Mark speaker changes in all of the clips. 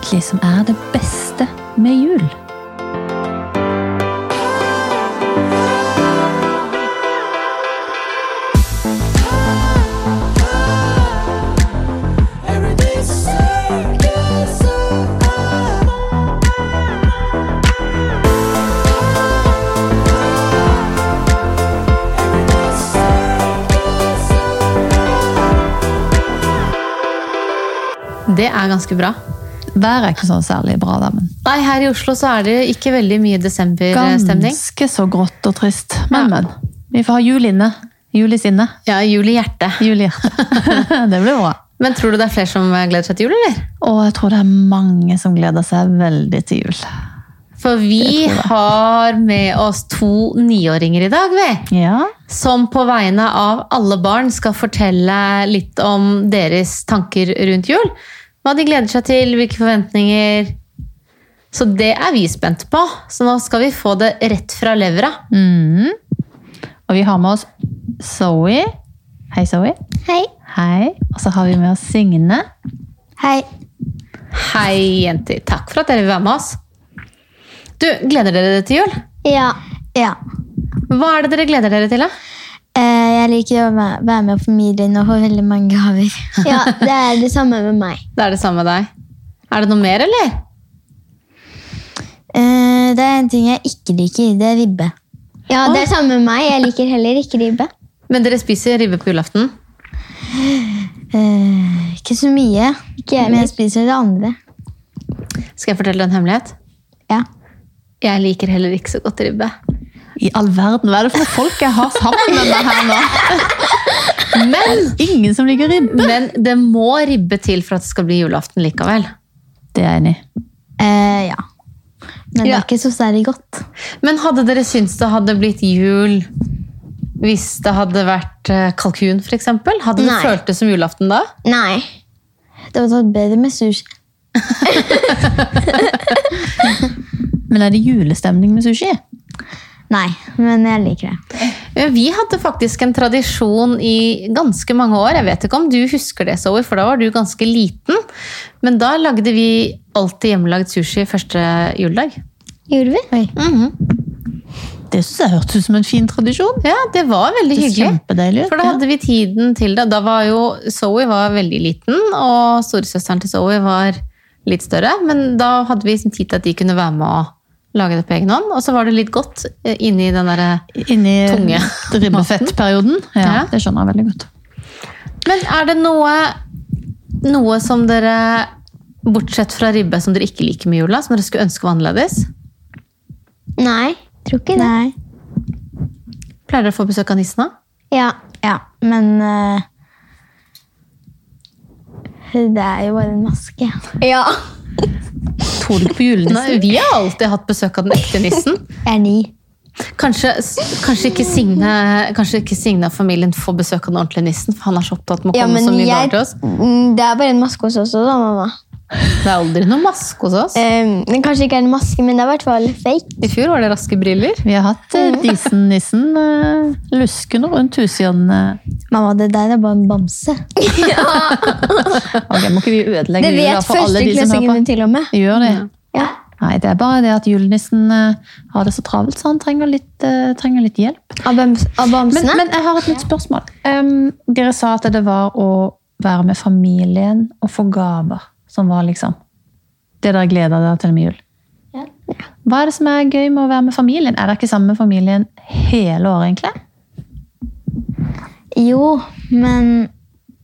Speaker 1: egentlig som er det beste med jul?
Speaker 2: Det er ganske bra.
Speaker 1: Været er ikke sånn særlig bra, da, men
Speaker 2: Nei, her i Oslo så er det ikke veldig mye desemberstemning.
Speaker 1: ganske så grått og trist. Men,
Speaker 2: Ja.
Speaker 1: men. Vi får ha jul inne. Jul i sinne.
Speaker 2: Ja, jul i hjertet.
Speaker 1: Jul i hjertet. det blir bra.
Speaker 2: Men tror du det er flere som gleder seg til jul, eller?
Speaker 1: Og jeg tror det er mange som gleder seg veldig til jul.
Speaker 2: For vi har med oss to niåringer i dag, vi.
Speaker 1: Ja.
Speaker 2: Som på vegne av alle barn skal fortelle litt om deres tanker rundt jul. Hva de gleder seg til, hvilke forventninger. Så det er vi spent på. Så nå skal vi få det rett fra levra.
Speaker 1: Mm. Og vi har med oss Zoe. Hei, Zoe.
Speaker 3: Hei.
Speaker 1: Hei. Og så har vi med oss Signe.
Speaker 3: Hei.
Speaker 2: Hei, jenter. Takk for at dere vil være med oss. Du, Gleder dere dere til jul?
Speaker 3: Ja. ja.
Speaker 2: Hva er det dere gleder dere til? da?
Speaker 3: Eh, jeg liker å væ- være med familien og få veldig mange gaver. Ja, det er det samme med meg.
Speaker 2: Det er det samme med deg. Er det noe mer, eller?
Speaker 3: Eh, det er en ting jeg ikke liker. Det er ribbe. Ja, det er samme med meg. Jeg liker heller ikke ribbe.
Speaker 2: Men dere spiser ribbe på julaften?
Speaker 3: Eh, ikke så mye, men jeg spiser det andre.
Speaker 2: Skal jeg fortelle en hemmelighet?
Speaker 3: Ja.
Speaker 2: Jeg liker heller ikke så godt ribbe.
Speaker 1: I all verden, hva er det for folk jeg har sammen med meg her nå?
Speaker 2: Men,
Speaker 1: Ingen som liker ribbe.
Speaker 2: men det må ribbe til for at det skal bli julaften likevel.
Speaker 1: Det er jeg enig i.
Speaker 3: Eh, ja. Men det
Speaker 2: Ja.
Speaker 3: er ikke så særlig godt.
Speaker 2: Men hadde dere syntes det hadde blitt jul hvis det hadde vært eh, kalkun, f.eks.? Hadde det
Speaker 3: Nei.
Speaker 2: føltes som julaften da?
Speaker 3: Nei. Det hadde vært bedre med sushi.
Speaker 1: Men er det julestemning med sushi?
Speaker 3: Nei, men jeg liker det.
Speaker 2: Ja, Vi hadde faktisk en tradisjon i ganske mange år. Jeg vet ikke om du husker det, Zoe, for da var du ganske liten. Men da lagde vi alltid hjemmelagd sushi første juledag.
Speaker 3: Gjorde vi? Oi.
Speaker 1: Mhm. Det synes jeg hørtes ut som en fin tradisjon.
Speaker 2: Ja, det var veldig
Speaker 1: Det er
Speaker 2: hyggelig.
Speaker 1: Kjempedeilig. ut,
Speaker 2: For da hadde vi tiden til det. Da var jo Zoe var veldig liten, og storesøsteren til Zoe var litt større. Men da hadde vi liksom tid til at de kunne være med og lage det på egen hånd. Og så var det litt godt eh, inni den derre
Speaker 1: ja. Inni
Speaker 2: Tunge.
Speaker 1: ribbefettperioden. Ja,
Speaker 2: Ja.
Speaker 1: Det skjønner jeg veldig godt.
Speaker 2: Men er det noe, noe som dere, bortsett fra ribbe, som dere ikke liker med jula, som dere skulle ønske var annerledes?
Speaker 3: Nei. Tror ikke det. Nei.
Speaker 2: Pleier dere å få besøk av nissen da?
Speaker 3: Ja, ja men eh, Det er jo bare en maske. Ja.
Speaker 1: Tror du ikke på julenissen?
Speaker 2: Nei, vi har alltid hatt besøk av den ekte nissen.
Speaker 3: Jeg er ni.
Speaker 2: Kanskje, kanskje, ikke Signe, kanskje ikke Signe og familien får besøk av den ordentlige nissen, for han er så opptatt med å
Speaker 3: Ja,
Speaker 2: komme
Speaker 3: men
Speaker 2: så mye
Speaker 3: jeg-
Speaker 2: gaver til oss.
Speaker 3: Mm, Det er bare en maske hos oss også, da, mamma.
Speaker 2: Det er aldri noe maske hos oss.
Speaker 3: Um, men Kanskje ikke er en maske, men det er i hvert fall fake.
Speaker 2: I fjor var det raske briller.
Speaker 1: Vi har hatt eh, disen-nissen eh, luskende rundt eh. hushjørnet.
Speaker 3: Mamma, det der er bare en bamse.
Speaker 1: Ok, må ikke vi ødelegge
Speaker 3: Det
Speaker 1: jula
Speaker 3: vet
Speaker 1: for alle de som hører
Speaker 3: førsteklassingene til og med.
Speaker 1: på? Gjør det.
Speaker 3: Ja.
Speaker 1: Nei, det er bare det at julenissen eh, har det så travelt, så han trenger litt, eh, trenger litt hjelp.
Speaker 3: Av, bams, av
Speaker 1: Men,
Speaker 3: bamsene?
Speaker 1: men jeg har et nytt spørsmål. Um, dere sa at det var å være med familien og få gaver, som var liksom det dere gleder dere til med jul.
Speaker 3: Ja.
Speaker 1: Hva er det som er gøy med å være med familien? Er dere ikke sammen med familien hele året, egentlig?
Speaker 3: jo, men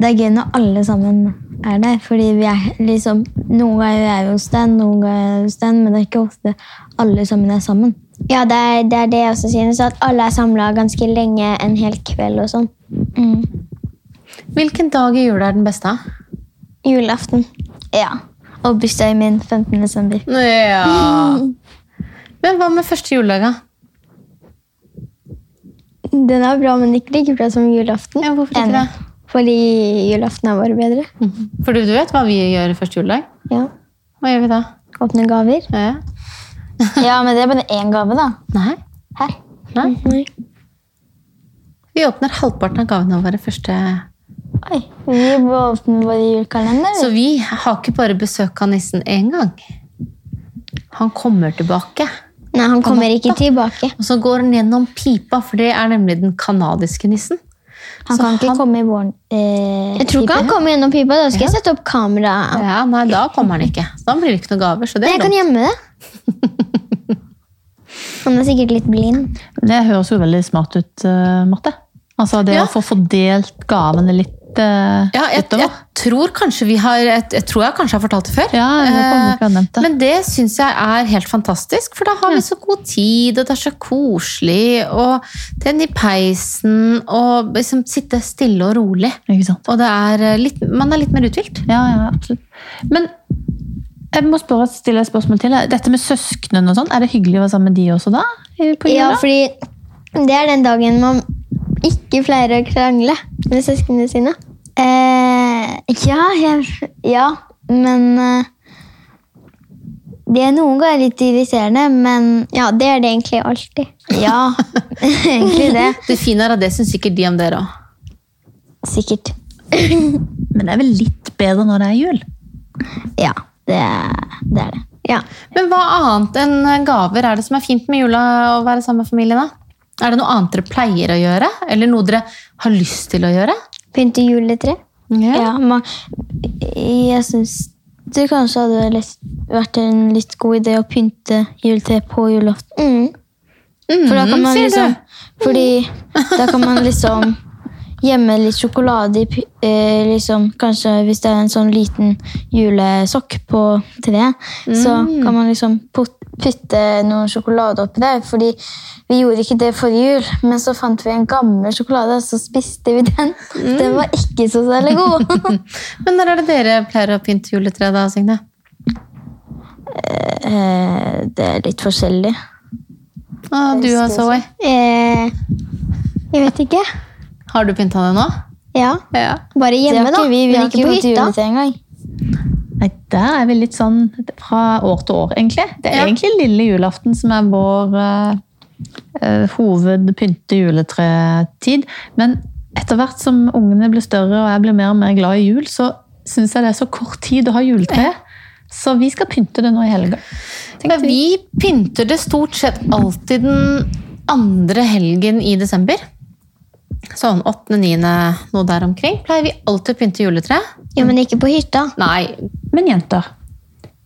Speaker 3: det er gøy når alle sammen er der. Fordi vi er liksom Noen ganger er vi hos den, noen ganger er vi hos den, men det er ikke ofte alle sammen er sammen. Ja, det er det, jeg også synes. At alle er samla ganske lenge, en hel kveld og sånn.
Speaker 2: Hvilken dag i jula er den beste?
Speaker 3: Julaften. Ja. Og bursdagen min 15. desember.
Speaker 2: Ja.
Speaker 3: Mm.
Speaker 2: Men hva med første juledag? da?
Speaker 3: Den er bra, men ikke like bra som julaften.
Speaker 2: Ja, hvorfor ikke
Speaker 3: Enig.
Speaker 2: det?
Speaker 3: Fordi julaften er bare bedre. Mhm.
Speaker 2: For du, du vet hva vi gjør første juledag?
Speaker 3: Ja.
Speaker 2: Hva gjør vi da?
Speaker 3: Åpne gaver.
Speaker 2: Ja.
Speaker 3: ja, men det er bare én gave, da.
Speaker 2: Nei.
Speaker 3: Her.
Speaker 2: Nei. Vi åpner halvparten av gavene våre første
Speaker 3: Oi, vi åpner vår julekalender.
Speaker 2: Så vi har ikke bare besøk av nissen én gang. Han kommer tilbake.
Speaker 3: Nei, han kommer ikke tilbake.
Speaker 2: Og så går han gjennom pipa, for det er nemlig den kanadiske nissen.
Speaker 3: Han
Speaker 2: Så
Speaker 3: kan ikke
Speaker 2: han-
Speaker 3: komme i våren. Eh,
Speaker 4: Jeg tror ikke han kommer gjennom pipa. Da skal jeg sette opp kamera.
Speaker 2: Ja, nei, da kommer han ikke. Så Da blir det ikke noen gaver. Så det
Speaker 4: Men
Speaker 2: er
Speaker 4: jeg kan
Speaker 2: dumt.
Speaker 4: gjemme det.
Speaker 3: Han er sikkert litt blind.
Speaker 1: Det høres jo veldig smart ut, eh, Marte. Altså det
Speaker 2: Ja.
Speaker 1: å få fordelt gavene litt eh,
Speaker 2: Ja, jeg, jeg
Speaker 1: utover.
Speaker 2: tror kanskje vi har jeg, jeg tror jeg kanskje har fortalt det før.
Speaker 1: Ja, jeg lurer på om du
Speaker 2: Eh,
Speaker 1: ikke har nevnt det.
Speaker 2: Men det syns jeg er helt fantastisk, for da har vi så god tid, og det er så koselig, og den i peisen, og liksom sitte stille og rolig.
Speaker 1: Ikke sant?
Speaker 2: Og det er eh, litt, man er litt mer uthvilt.
Speaker 1: Ja, ja, absolutt. Men jeg må spørre, stille et spørsmål til. deg. Dette med søsknene og sånn, er det hyggelig å være sammen med de også da? I- På
Speaker 4: Ja,
Speaker 1: jula?
Speaker 4: fordi det er den dagen man ikke pleier å krangle med søsknene sine.
Speaker 3: Eh, ja, jeg, ja, men eh, Det er noen ganger litt irriterende, men
Speaker 4: Ja, det er det egentlig alltid.
Speaker 3: ja, egentlig det.
Speaker 2: Det fine er at det syns sikkert de om dere òg.
Speaker 3: Sikkert.
Speaker 1: Men det er vel litt bedre når det er jul?
Speaker 3: Ja, det, er- det er det.
Speaker 4: Ja.
Speaker 2: Men hva annet enn eh, gaver er det som er fint med jula å være sammen med familien? da? Er det noe annet dere pleier å gjøre, eller noe dere har lyst til å gjøre?
Speaker 4: Pynte juletre.
Speaker 3: Ja, man, jeg syns det kanskje hadde litt, vært en litt god idé å pynte juletre på julaften.
Speaker 4: Mm.
Speaker 3: For da kan man
Speaker 2: sier du.
Speaker 3: liksom Fordi da kan man liksom gjemme litt sjokolade i py- eh, liksom, Kanskje hvis det er en sånn liten julesokk på treet, så
Speaker 4: Mm.
Speaker 3: kan man liksom put- putte noe sjokolade oppi der. Fordi vi gjorde ikke det forrige jul, men så fant vi en gammel sjokolade, så spiste vi den.
Speaker 4: Mm.
Speaker 3: Den var ikke så særlig god.
Speaker 2: Men når er det dere pleier å pynte juletreet, da, Signe?
Speaker 3: Eh, det er litt forskjellig.
Speaker 2: Ah, du og Zoe.
Speaker 4: Eh, jeg vet ikke.
Speaker 2: Har du pynta det nå?
Speaker 4: Ja.
Speaker 2: Ja.
Speaker 4: Bare hjemme,
Speaker 3: det
Speaker 4: da.
Speaker 3: har ikke vi. Vi
Speaker 4: Men
Speaker 3: har ikke gått til
Speaker 4: hytta.
Speaker 3: juletre engang.
Speaker 1: Nei, der er vi litt sånn fra år til år, egentlig. Det er
Speaker 2: Ja.
Speaker 1: egentlig lille julaften som er vår uh, hovedpynte juletretid. Men etter hvert som ungene blir større og jeg blir mer og mer glad i jul, så syns jeg det er så kort tid å ha juletre. Så vi skal pynte det nå i helga.
Speaker 2: Men vi pynter det stort sett alltid den andre helgen i desember. Sånn 8.-9. noe der omkring. Pleier vi alltid å pynte juletreet?
Speaker 4: Jo, men ikke på hytta.
Speaker 2: Nei.
Speaker 1: Men jenter,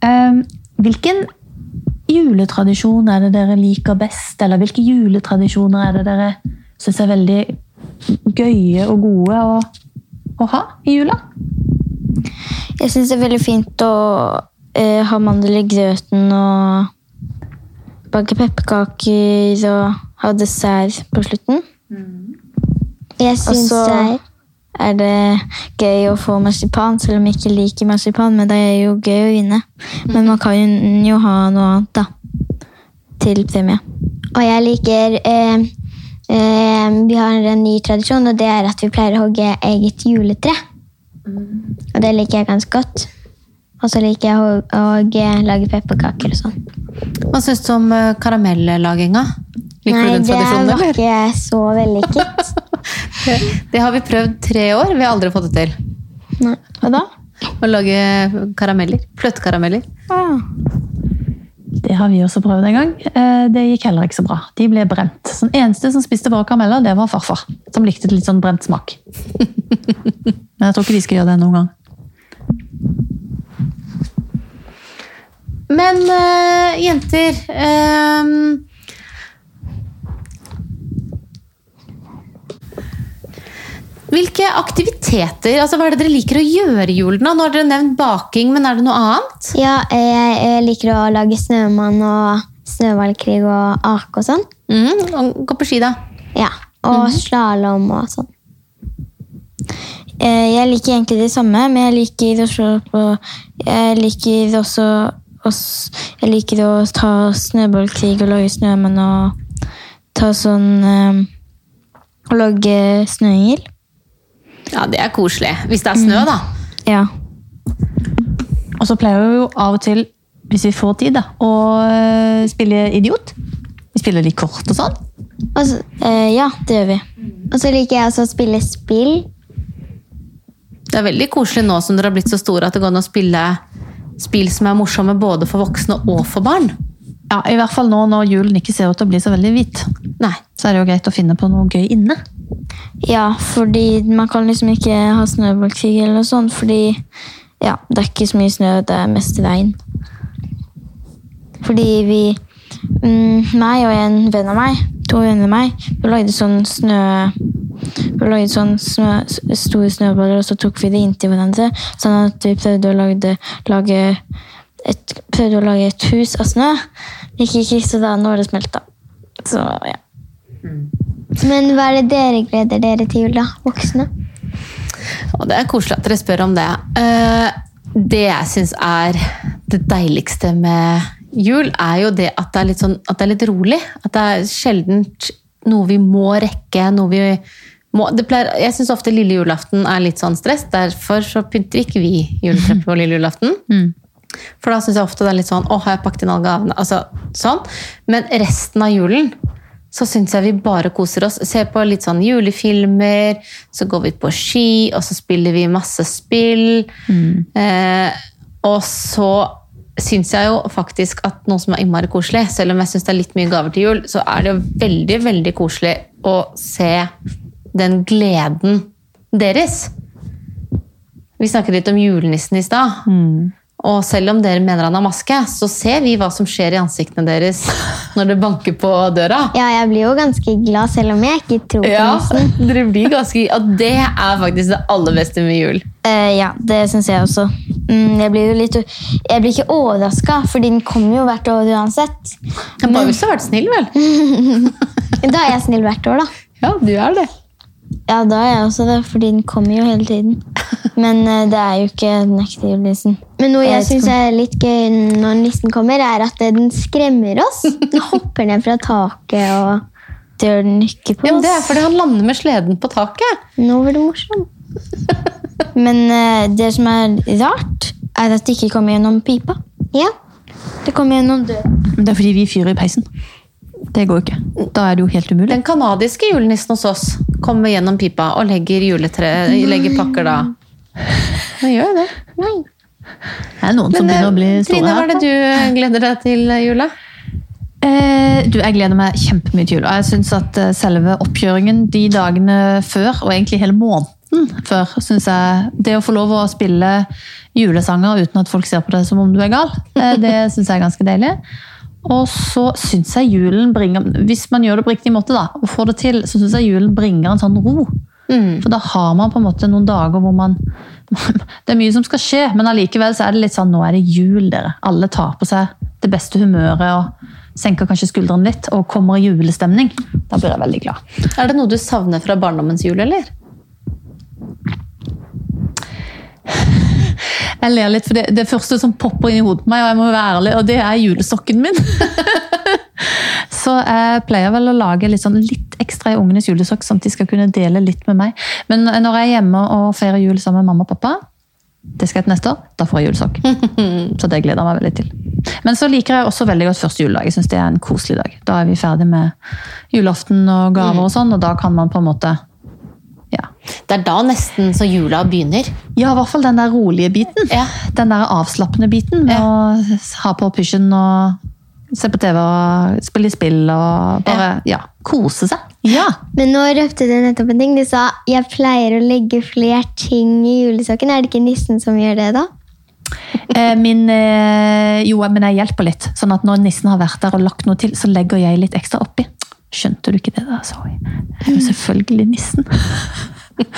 Speaker 1: eh, hvilken juletradisjon er det dere liker best? Eller hvilke juletradisjoner er det dere syns er veldig gøye og gode å, å ha i jula?
Speaker 3: Jeg syns det er veldig fint å eh, ha mandel i grøten og bake pepperkaker og ha dessert på slutten.
Speaker 4: Jeg syns
Speaker 3: Mm. så-
Speaker 4: det er
Speaker 3: Er det gøy å få marsipan, selv om jeg ikke liker marsipan? Men det er jo gøy å vinne. Men man kan jo- jo ha noe annet, da. Til premie.
Speaker 4: Og jeg liker eh, eh, Vi har en ny tradisjon, og det er at vi pleier å hogge eget juletre. Og det liker jeg ganske godt. Og så liker jeg å, å eh, lage pepperkaker og sånn.
Speaker 2: Hva syns du om eh, karamellaginga? Liker du
Speaker 4: Nei,
Speaker 2: den
Speaker 4: det
Speaker 2: tradisjonen,
Speaker 4: var
Speaker 2: eller?
Speaker 4: ikke så vellykket.
Speaker 2: Det har vi prøvd tre år, vi har aldri fått det til.
Speaker 3: Hva da?
Speaker 2: Å lage karameller. Fløtekarameller.
Speaker 3: Ah.
Speaker 1: Det har vi også prøvd en gang. Eh, Det gikk heller ikke så bra. De ble brent. Så den eneste som spiste bare karameller, det var farfar. Som likte litt sånn brent smak. Men jeg tror ikke vi skal gjøre det noen gang.
Speaker 2: Men eh, jenter ehm, Hvilke aktiviteter, altså Hva er det dere liker å gjøre i julen? da? Nå har dere nevnt baking, men er det noe annet?
Speaker 4: Ja, eh, jeg, eh, liker å lage snømann og snøhvalkrig og ake og sånn.
Speaker 2: Mm, og gå på ski, da.
Speaker 4: Ja, Og slalåm og sånn.
Speaker 3: Eh, Jeg liker egentlig det samme, men jeg liker å slå på Jeg liker også å s- Jeg liker å ta snøballkrig og lage snømenn og ta sånn eh, Og lage snøengel.
Speaker 2: Ja, Det er koselig. Hvis det er snø, da.
Speaker 3: Ja.
Speaker 1: Og så pleier vi jo av og til, hvis vi får tid, da, å eh, spille idiot. Vi spiller litt kort og sånn.
Speaker 4: Og så,
Speaker 3: Eh, ja, det gjør vi.
Speaker 4: og så liker jeg også å spille spill.
Speaker 2: det er veldig koselig nå som dere har blitt så store at det går an å spille spill som er morsomme både for voksne og for barn.
Speaker 1: Ja, I hvert fall nå når julen ikke ser ut til å bli så veldig hvit.
Speaker 2: Nei.
Speaker 1: Så er det jo greit å finne på noe gøy inne.
Speaker 3: Ja, fordi man kan liksom ikke ha snøballkrig eller noe sånt, fordi ja, det er ikke så mye snø, det er mest i veien. Fordi vi, mm, meg og en venn av meg, to venner av meg, vi lagde sånn snø... Vi lagde sånn snø, s- store snøballer, og så tok vi det inntil hverandre, sånn at vi prøvde å lage, lage et, prøvde å lage et hus av snø. Det gikk ikke, så da nå har det smelta. Så ja.
Speaker 4: Men hva er det dere gleder dere til jul, da? Voksne?
Speaker 2: Og det er koselig at dere spør om det. Eh, Det jeg syns er det deiligste med jul, er jo det at det er litt, sånn, at det er litt rolig. At det er sjeldent noe vi må rekke. noe vi må... Det pleier, jeg syns ofte lille julaften er litt sånn stress. Derfor så pynter ikke vi juletreet på lille julaften. For da syns jeg ofte det er litt sånn Å, har jeg pakket inn alle gavene? Altså, sånn. Men resten av julen så syns jeg vi bare koser oss. Ser på litt sånn julefilmer, så går vi på ski, og så spiller vi masse spill. Eh, og så syns jeg jo faktisk at noe som er innmari koselig, selv om jeg syns det er litt mye gaver til jul, så er det jo veldig, veldig koselig å se den gleden deres. Vi snakket litt om julenissen i stad. Og selv om dere mener han har maske, så ser vi hva som skjer i ansiktene deres når det banker på døra.
Speaker 4: Ja, jeg blir jo ganske glad, selv om jeg ikke tror på
Speaker 2: Ja,
Speaker 4: nissen.
Speaker 2: dere blir ganske... Og det er faktisk det aller beste med jul.
Speaker 3: Eh, ja, det syns jeg også. Mm, jeg blir jo litt Jeg blir ikke overraska, for den kommer jo hvert år uansett.
Speaker 2: Jeg bare hvis du har vært snill, vel?
Speaker 4: Da er jeg snill hvert år, da.
Speaker 2: Ja, du er det.
Speaker 3: Ja, da er jeg også det, for den kommer jo hele tiden. Men eh, det er jo ikke den ekte julenissen.
Speaker 4: Men noe jeg
Speaker 3: Jeg vet
Speaker 4: syns er litt gøy når nissen kommer, er at
Speaker 3: eh,
Speaker 4: den skremmer oss. Den hopper ned fra taket og
Speaker 3: Dør den ikke på
Speaker 2: Ja, men
Speaker 3: oss?
Speaker 2: det er fordi han lander med sleden på taket.
Speaker 4: Nå var det morsomt.
Speaker 3: Men eh, det som er rart, er at det ikke kommer gjennom pipa.
Speaker 4: Ja.
Speaker 3: Det kommer gjennom døra.
Speaker 1: Men det er fordi vi fyrer i peisen. Det går jo ikke. Da er det jo helt umulig.
Speaker 2: Den kanadiske julenissen hos oss kommer gjennom pipa og legger, juletre, legger pakker da. Han gjør jo det.
Speaker 1: Det er noen som
Speaker 2: Men
Speaker 1: begynner å bli
Speaker 2: eh,
Speaker 1: store
Speaker 2: Trine, hva
Speaker 1: her.
Speaker 2: er det du gleder deg til eh, jula?
Speaker 1: Eh, du, jeg gleder meg kjempemye til jul. Og jeg synes at eh, selve oppkjøringen de dagene før, og egentlig hele måneden før, synes jeg Det å få lov å spille julesanger uten at folk ser på deg som om du er gal, eh, det syns jeg er ganske deilig. Og så syns jeg julen bringer Hvis man gjør det på riktig måte, da, og får det til, så syns jeg julen bringer en sånn ro. For da har man på en måte noen dager hvor man Det er mye som skal skje, men allikevel så er det litt sånn nå er det jul, dere. Alle tar på seg det beste humøret og senker kanskje skuldrene litt og kommer i julestemning. Da blir jeg veldig glad.
Speaker 2: Er det noe du savner fra barndommens jul, eller?
Speaker 1: Jeg ler litt, for det, det første som popper inn i hodet på meg, og jeg må jo være ærlig, og det er julesokken min. Så jeg pleier vel å lage litt, sånn, litt ekstra i ungenes julesokk, sånn at de skal kunne dele litt med meg. Men når jeg er hjemme og feirer jul sammen med mamma og pappa, det skal jeg til neste år, da får jeg julesokk. Så det gleder jeg meg veldig til. Men så liker jeg også veldig godt første juledag. Jeg synes det er en koselig dag. Da er vi ferdig med julaften og gaver og sånn, og da kan man på en måte ja.
Speaker 2: Det er da nesten så jula begynner.
Speaker 1: ja, i hvert fall den der rolige biten.
Speaker 2: Ja.
Speaker 1: Den der avslappende biten med å ha på pysjen og se på TV og spille spill og bare ja, kose seg. Ja!
Speaker 4: Men nå røpte du nettopp en ting. Du sa jeg pleier å legge flere ting i julesokken. Er det ikke nissen som gjør det, da?
Speaker 1: Eh, Min, eh, jo, men jeg hjelper litt. Sånn at når nissen har vært der og lagt noe til, så legger jeg litt ekstra oppi. Skjønte du ikke det da, Zoe? Det er jo selvfølgelig nissen.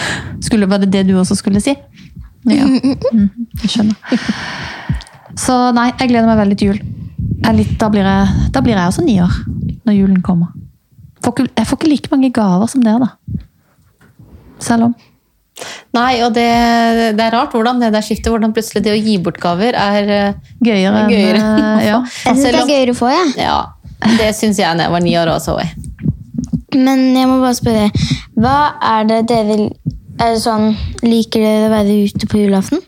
Speaker 1: Skulle, var det det du også skulle si? Ja. Mhm, jeg skjønner. Så nei, jeg gleder meg veldig til jul. Jeg er litt, da, blir jeg, da blir jeg også ni år, når julen kommer. Får ikke, jeg får ikke like mange gaver som dere, da. Selv om.
Speaker 2: Nei, og det, det er rart hvordan det der skiftet, hvordan plutselig det å gi bort gaver er eh,
Speaker 1: Gøyere. enn,
Speaker 2: Gøyere.
Speaker 1: eh, Ja.
Speaker 4: Jeg synes det
Speaker 2: Selv om-
Speaker 4: er gøyere å få, jeg.
Speaker 2: Ja, det syns jeg da jeg var ni år også. Zoe.
Speaker 3: Men jeg må bare spørre, hva er det dere vil er det sånn, Liker dere å være ute på julaften?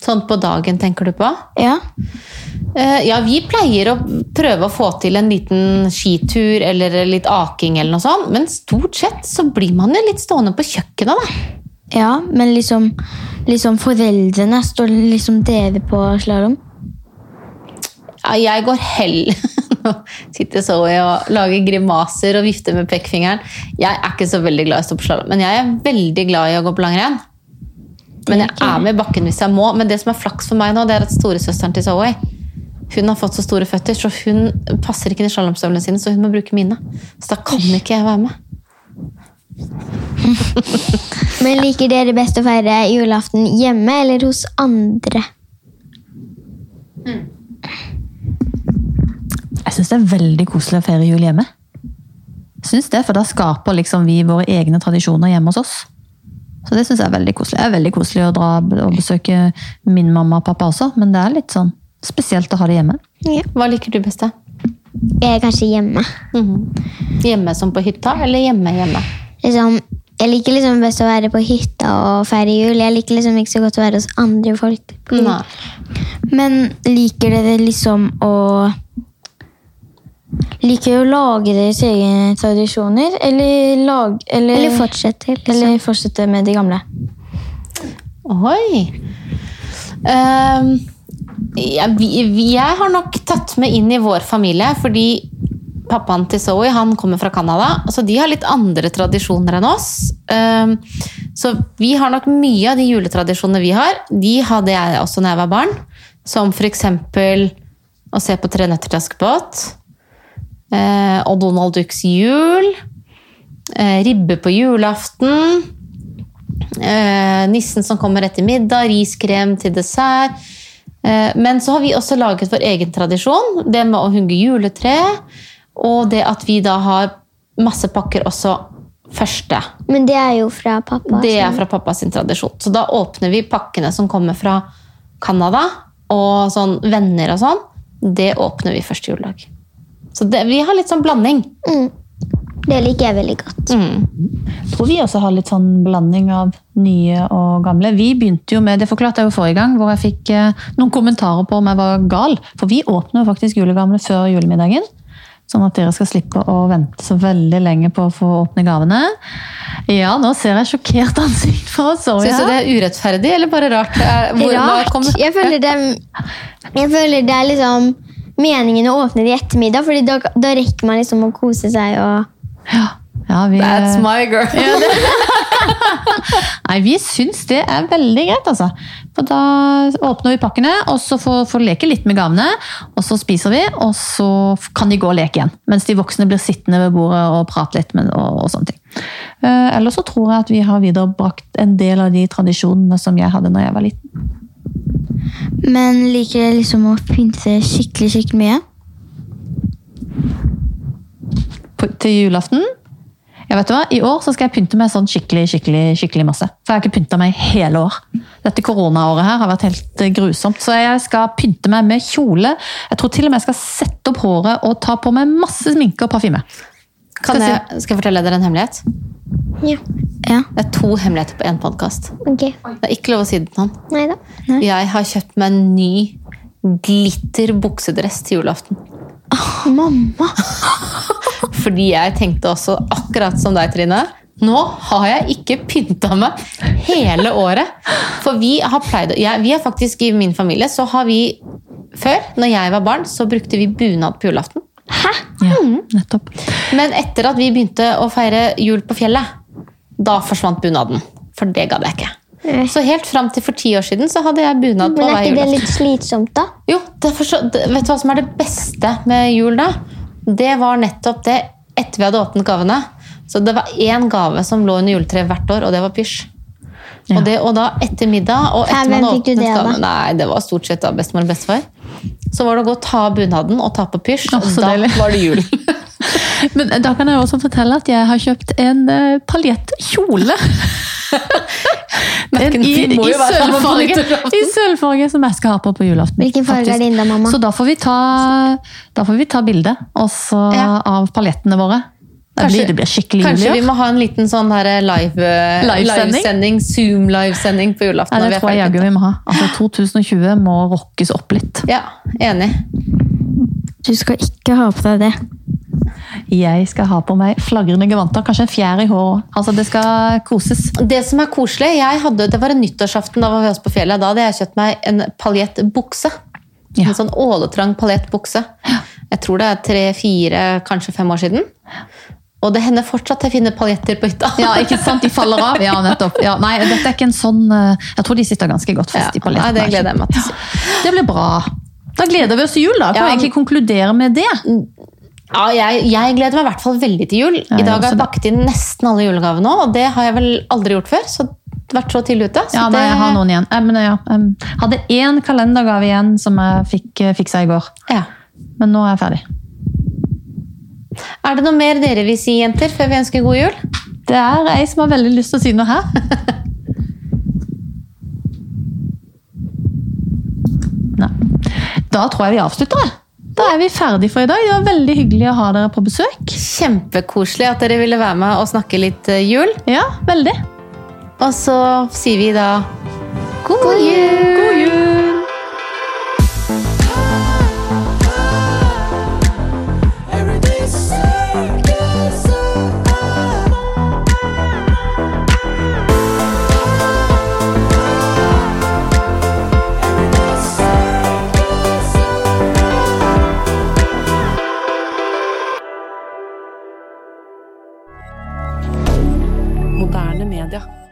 Speaker 2: Sånn på dagen, tenker du på?
Speaker 3: Ja.
Speaker 2: Eh, Ja, vi pleier å prøve å få til en liten skitur eller litt aking eller noe sånt, men stort sett så blir man jo litt stående på kjøkkenet, da.
Speaker 3: Ja, men liksom, liksom foreldrene står liksom dere på slalåm.
Speaker 2: Ja, jeg går hell. Nå sitter Zoe og lager grimaser og vifter med pekefingeren. Jeg er ikke så veldig glad i å stå på slalåm, men jeg er veldig glad i å gå på langrenn. Men jeg er med i bakken hvis jeg må. Men det som er flaks for meg nå, det er at storesøsteren til Zoe hun har fått så store føtter, så hun passer ikke inn i slalåmstøvlene sine, så hun må bruke mine. Så da kan ikke jeg være med.
Speaker 4: Men liker dere best å feire julaften hjemme eller hos andre?
Speaker 1: Jeg syns det er veldig koselig å feire jul hjemme. Synes det, For da skaper liksom vi våre egne tradisjoner hjemme hos oss. Så det syns jeg er veldig koselig. Det er veldig koselig å dra og besøke min mamma og pappa også, men det er litt sånn spesielt å ha det hjemme.
Speaker 2: Hva liker du best? da?
Speaker 4: Jeg er kanskje hjemme.
Speaker 2: Mhm. Hjemme som på hytta, eller hjemme hjemme?
Speaker 4: Liksom, jeg liker liksom best å være på hytta og feire jul. Jeg liker liksom ikke så godt å være hos andre folk.
Speaker 2: Nei.
Speaker 3: Men liker dere liksom å Liker dere å lage deres egne tradisjoner, eller, lag, eller,
Speaker 4: Eller fortsette. Liksom.
Speaker 3: eller fortsette med de gamle?
Speaker 2: Oi! Ehm, jeg, vi, vi- jeg har nok tatt med inn i vår familie, fordi pappaen til Zoe han kommer fra Canada. Så de har litt andre tradisjoner enn oss. Ehm, så vi har nok mye av de juletradisjonene vi har. De hadde jeg også da jeg var barn. Som f.eks. å se på Tre nøtter til Askepott. eh, og Donald Ducks jul. eh, ribbe på julaften. Eh, nissen som kommer etter middag, riskrem til dessert. Eh, men så har vi også laget vår egen tradisjon, det med å hugge juletre. Og det at vi da har masse pakker også første.
Speaker 4: Men det er jo fra pappa.
Speaker 2: Det er
Speaker 4: så-
Speaker 2: fra pappa sin tradisjon. Så da åpner vi pakkene som kommer fra Canada og sånn venner og sånn. Det åpner vi første juledag. Så det, vi har litt sånn blanding.
Speaker 4: Mm. Det liker jeg veldig godt.
Speaker 2: Mm.
Speaker 1: tror vi også har litt sånn blanding av nye og gamle. Vi begynte jo med, det forklarte jeg jo forrige gang, hvor jeg fikk eh, noen kommentarer på om jeg var gal. For vi åpner jo faktisk julegamene før julemiddagen. Sånn at dere skal slippe å vente så veldig lenge på å få åpne gavene. Ja, nå ser jeg sjokkert ansikt fra Sorry.
Speaker 2: Syns du det er urettferdig eller bare rart? Eh, Hvor, hva
Speaker 4: Rart.
Speaker 2: kommer-
Speaker 4: Jeg føler det, jeg føler det er liksom meningen å åpne det i ettermiddag, Fordi da, da rekker man liksom å kose seg og
Speaker 1: Ja, vi,
Speaker 2: That's my girl.
Speaker 1: Nei, vi syns det er veldig greit, altså. For da åpner vi pakkene, og så får, får leke litt med gavene. Og så spiser vi, og så f- kan de gå og leke igjen. Mens de voksne blir sittende ved bordet og prate litt. Med, og, og sånne ting. Eh, ellers så tror jeg at vi har viderebrakt en del av de tradisjonene som jeg hadde når jeg var liten.
Speaker 3: Men liker dere liksom å pynte skikkelig, skikkelig mye?
Speaker 1: På, til julaften jeg vet du hva, I år så skal jeg pynte meg sånn skikkelig skikkelig, skikkelig masse. For jeg har ikke pynta meg i hele år. Dette koronaåret her har vært helt eh, grusomt. Så jeg skal pynte meg med kjole. Jeg tror til og med jeg skal sette opp håret og ta på meg masse sminke og parfyme. Skal
Speaker 2: Kan jeg, skal jeg fortelle dere en hemmelighet?
Speaker 4: Ja.
Speaker 3: Ja.
Speaker 2: Det er to hemmeligheter på én podkast.
Speaker 4: Ok.
Speaker 2: Det er ikke lov å si det til noen.
Speaker 4: Nei da.
Speaker 2: Jeg har kjøpt meg en ny glitter buksedress til julaften.
Speaker 3: Mamma!
Speaker 2: Fordi jeg tenkte også akkurat som deg, Trine. Nå har jeg ikke pynta meg hele året. For vi har pleid å- jeg, Vi er faktisk i min familie, så har vi Før, når jeg var barn, så brukte vi bunad på julaften.
Speaker 1: Ja, nettopp.
Speaker 2: Men etter at vi begynte å feire jul på fjellet, da forsvant bunaden. For det gadd jeg ikke. Så helt fram til for ti år siden så hadde jeg bunad på
Speaker 4: Eh. Men
Speaker 2: hver
Speaker 4: er ikke det
Speaker 2: julaften.
Speaker 4: litt slitsomt, da?
Speaker 2: Jo, derfor så, d- vet du hva som er det beste med jul da? Det var nettopp det etter vi hadde åpnet gavene. Så det var én gave som lå under juletreet hvert år, og det var pysj.
Speaker 1: Ja.
Speaker 2: Og, det, og da etter middag og
Speaker 4: Hæ,
Speaker 2: etter man
Speaker 4: hvem
Speaker 2: hadde
Speaker 4: fikk du
Speaker 2: åpnet
Speaker 4: det av, da?
Speaker 2: gavene, Nei, det var stort sett da bestemor og bestefar. Så var det å gå og ta av bunaden og ta på pysj.
Speaker 1: Å, så
Speaker 2: da
Speaker 1: deilig.
Speaker 2: var det jul.
Speaker 1: Men eh, da kan jeg også fortelle at jeg har kjøpt en eh, paljettkjole.
Speaker 2: Men
Speaker 1: En i,
Speaker 2: vi må
Speaker 1: i,
Speaker 2: jo være sammen på
Speaker 1: sølvfarge,
Speaker 2: nyttårsaften.
Speaker 1: I sølvfarge som jeg skal ha på på julaften.
Speaker 4: Hvilken farge er det inne, da, mamma?
Speaker 1: Så da får vi ta, da får vi ta bilde også
Speaker 2: Ja.
Speaker 1: av paljettene våre. Da
Speaker 2: Kanskje-
Speaker 1: blir det blir skikkelig
Speaker 2: Kanskje
Speaker 1: jul i
Speaker 2: vi
Speaker 1: år.
Speaker 2: må ha en liten sånn her live, eh,
Speaker 1: Livesending?
Speaker 2: livesending, Zoom-livesending på julaften.
Speaker 1: Ja,
Speaker 2: når vi
Speaker 1: det
Speaker 2: er
Speaker 1: tror jeg
Speaker 2: ferdig.
Speaker 1: jaggu vi må ha. Altså 2020 må rockes opp litt.
Speaker 2: Ja, enig.
Speaker 3: Du skal ikke ha på deg det.
Speaker 1: Jeg skal ha på meg flagrende gevanter, kanskje en fjær i håret òg. Altså, det skal koses.
Speaker 2: Det som er koselig, jeg hadde, det var en nyttårsaften da var vi også på fjellet. Da hadde jeg kjøpt meg en paljettbukse.
Speaker 1: Ja.
Speaker 2: En sånn åletrang paljettbukse. Jeg tror det er tre-fire, kanskje fem år siden. Og det hender fortsatt jeg finner paljetter på hytta.
Speaker 1: Ja, ikke sant? De faller av. Ja, nettopp. Ja, nei, dette er ikke en sånn eh, Jeg tror de sitter ganske godt
Speaker 2: Ja,
Speaker 1: fast i
Speaker 2: nei,
Speaker 1: paljetten.
Speaker 2: det gleder jeg meg til.
Speaker 1: Det blir bra. Da gleder vi oss til jul, da. Kan
Speaker 2: Ja. Mm,
Speaker 1: vi egentlig konkludere med det?
Speaker 2: Ja, jeg, jeg gleder meg i hvert fall veldig til jul.
Speaker 1: Ja,
Speaker 2: I dag
Speaker 1: jeg
Speaker 2: har
Speaker 1: også
Speaker 2: jeg pakket inn nesten alle julegavene nå, og det har jeg vel aldri gjort før. Så vært så tidlig ute. Så
Speaker 1: Ja, nei,
Speaker 2: det,
Speaker 1: jeg har noen igjen. Eh, men, ja, em, hadde én kalendergave igjen som jeg fikk eh, fiksa i går.
Speaker 2: Ja.
Speaker 1: Men nå er jeg ferdig.
Speaker 2: Er det noe mer dere vil si, jenter, før vi ønsker god jul?
Speaker 1: Det er ei som har veldig lyst til å si noe her. Nei. Da tror jeg vi avslutter. jeg. Da er vi ferdig for i dag. Det var veldig hyggelig å ha dere på besøk.
Speaker 2: Kjempekoselig at dere ville være med og snakke litt eh, jul.
Speaker 1: Ja, veldig.
Speaker 2: Og så sier vi da god jul!
Speaker 1: God jul!
Speaker 5: Every day is a circus of love. Every day is a circus of love.
Speaker 6: Moderne media.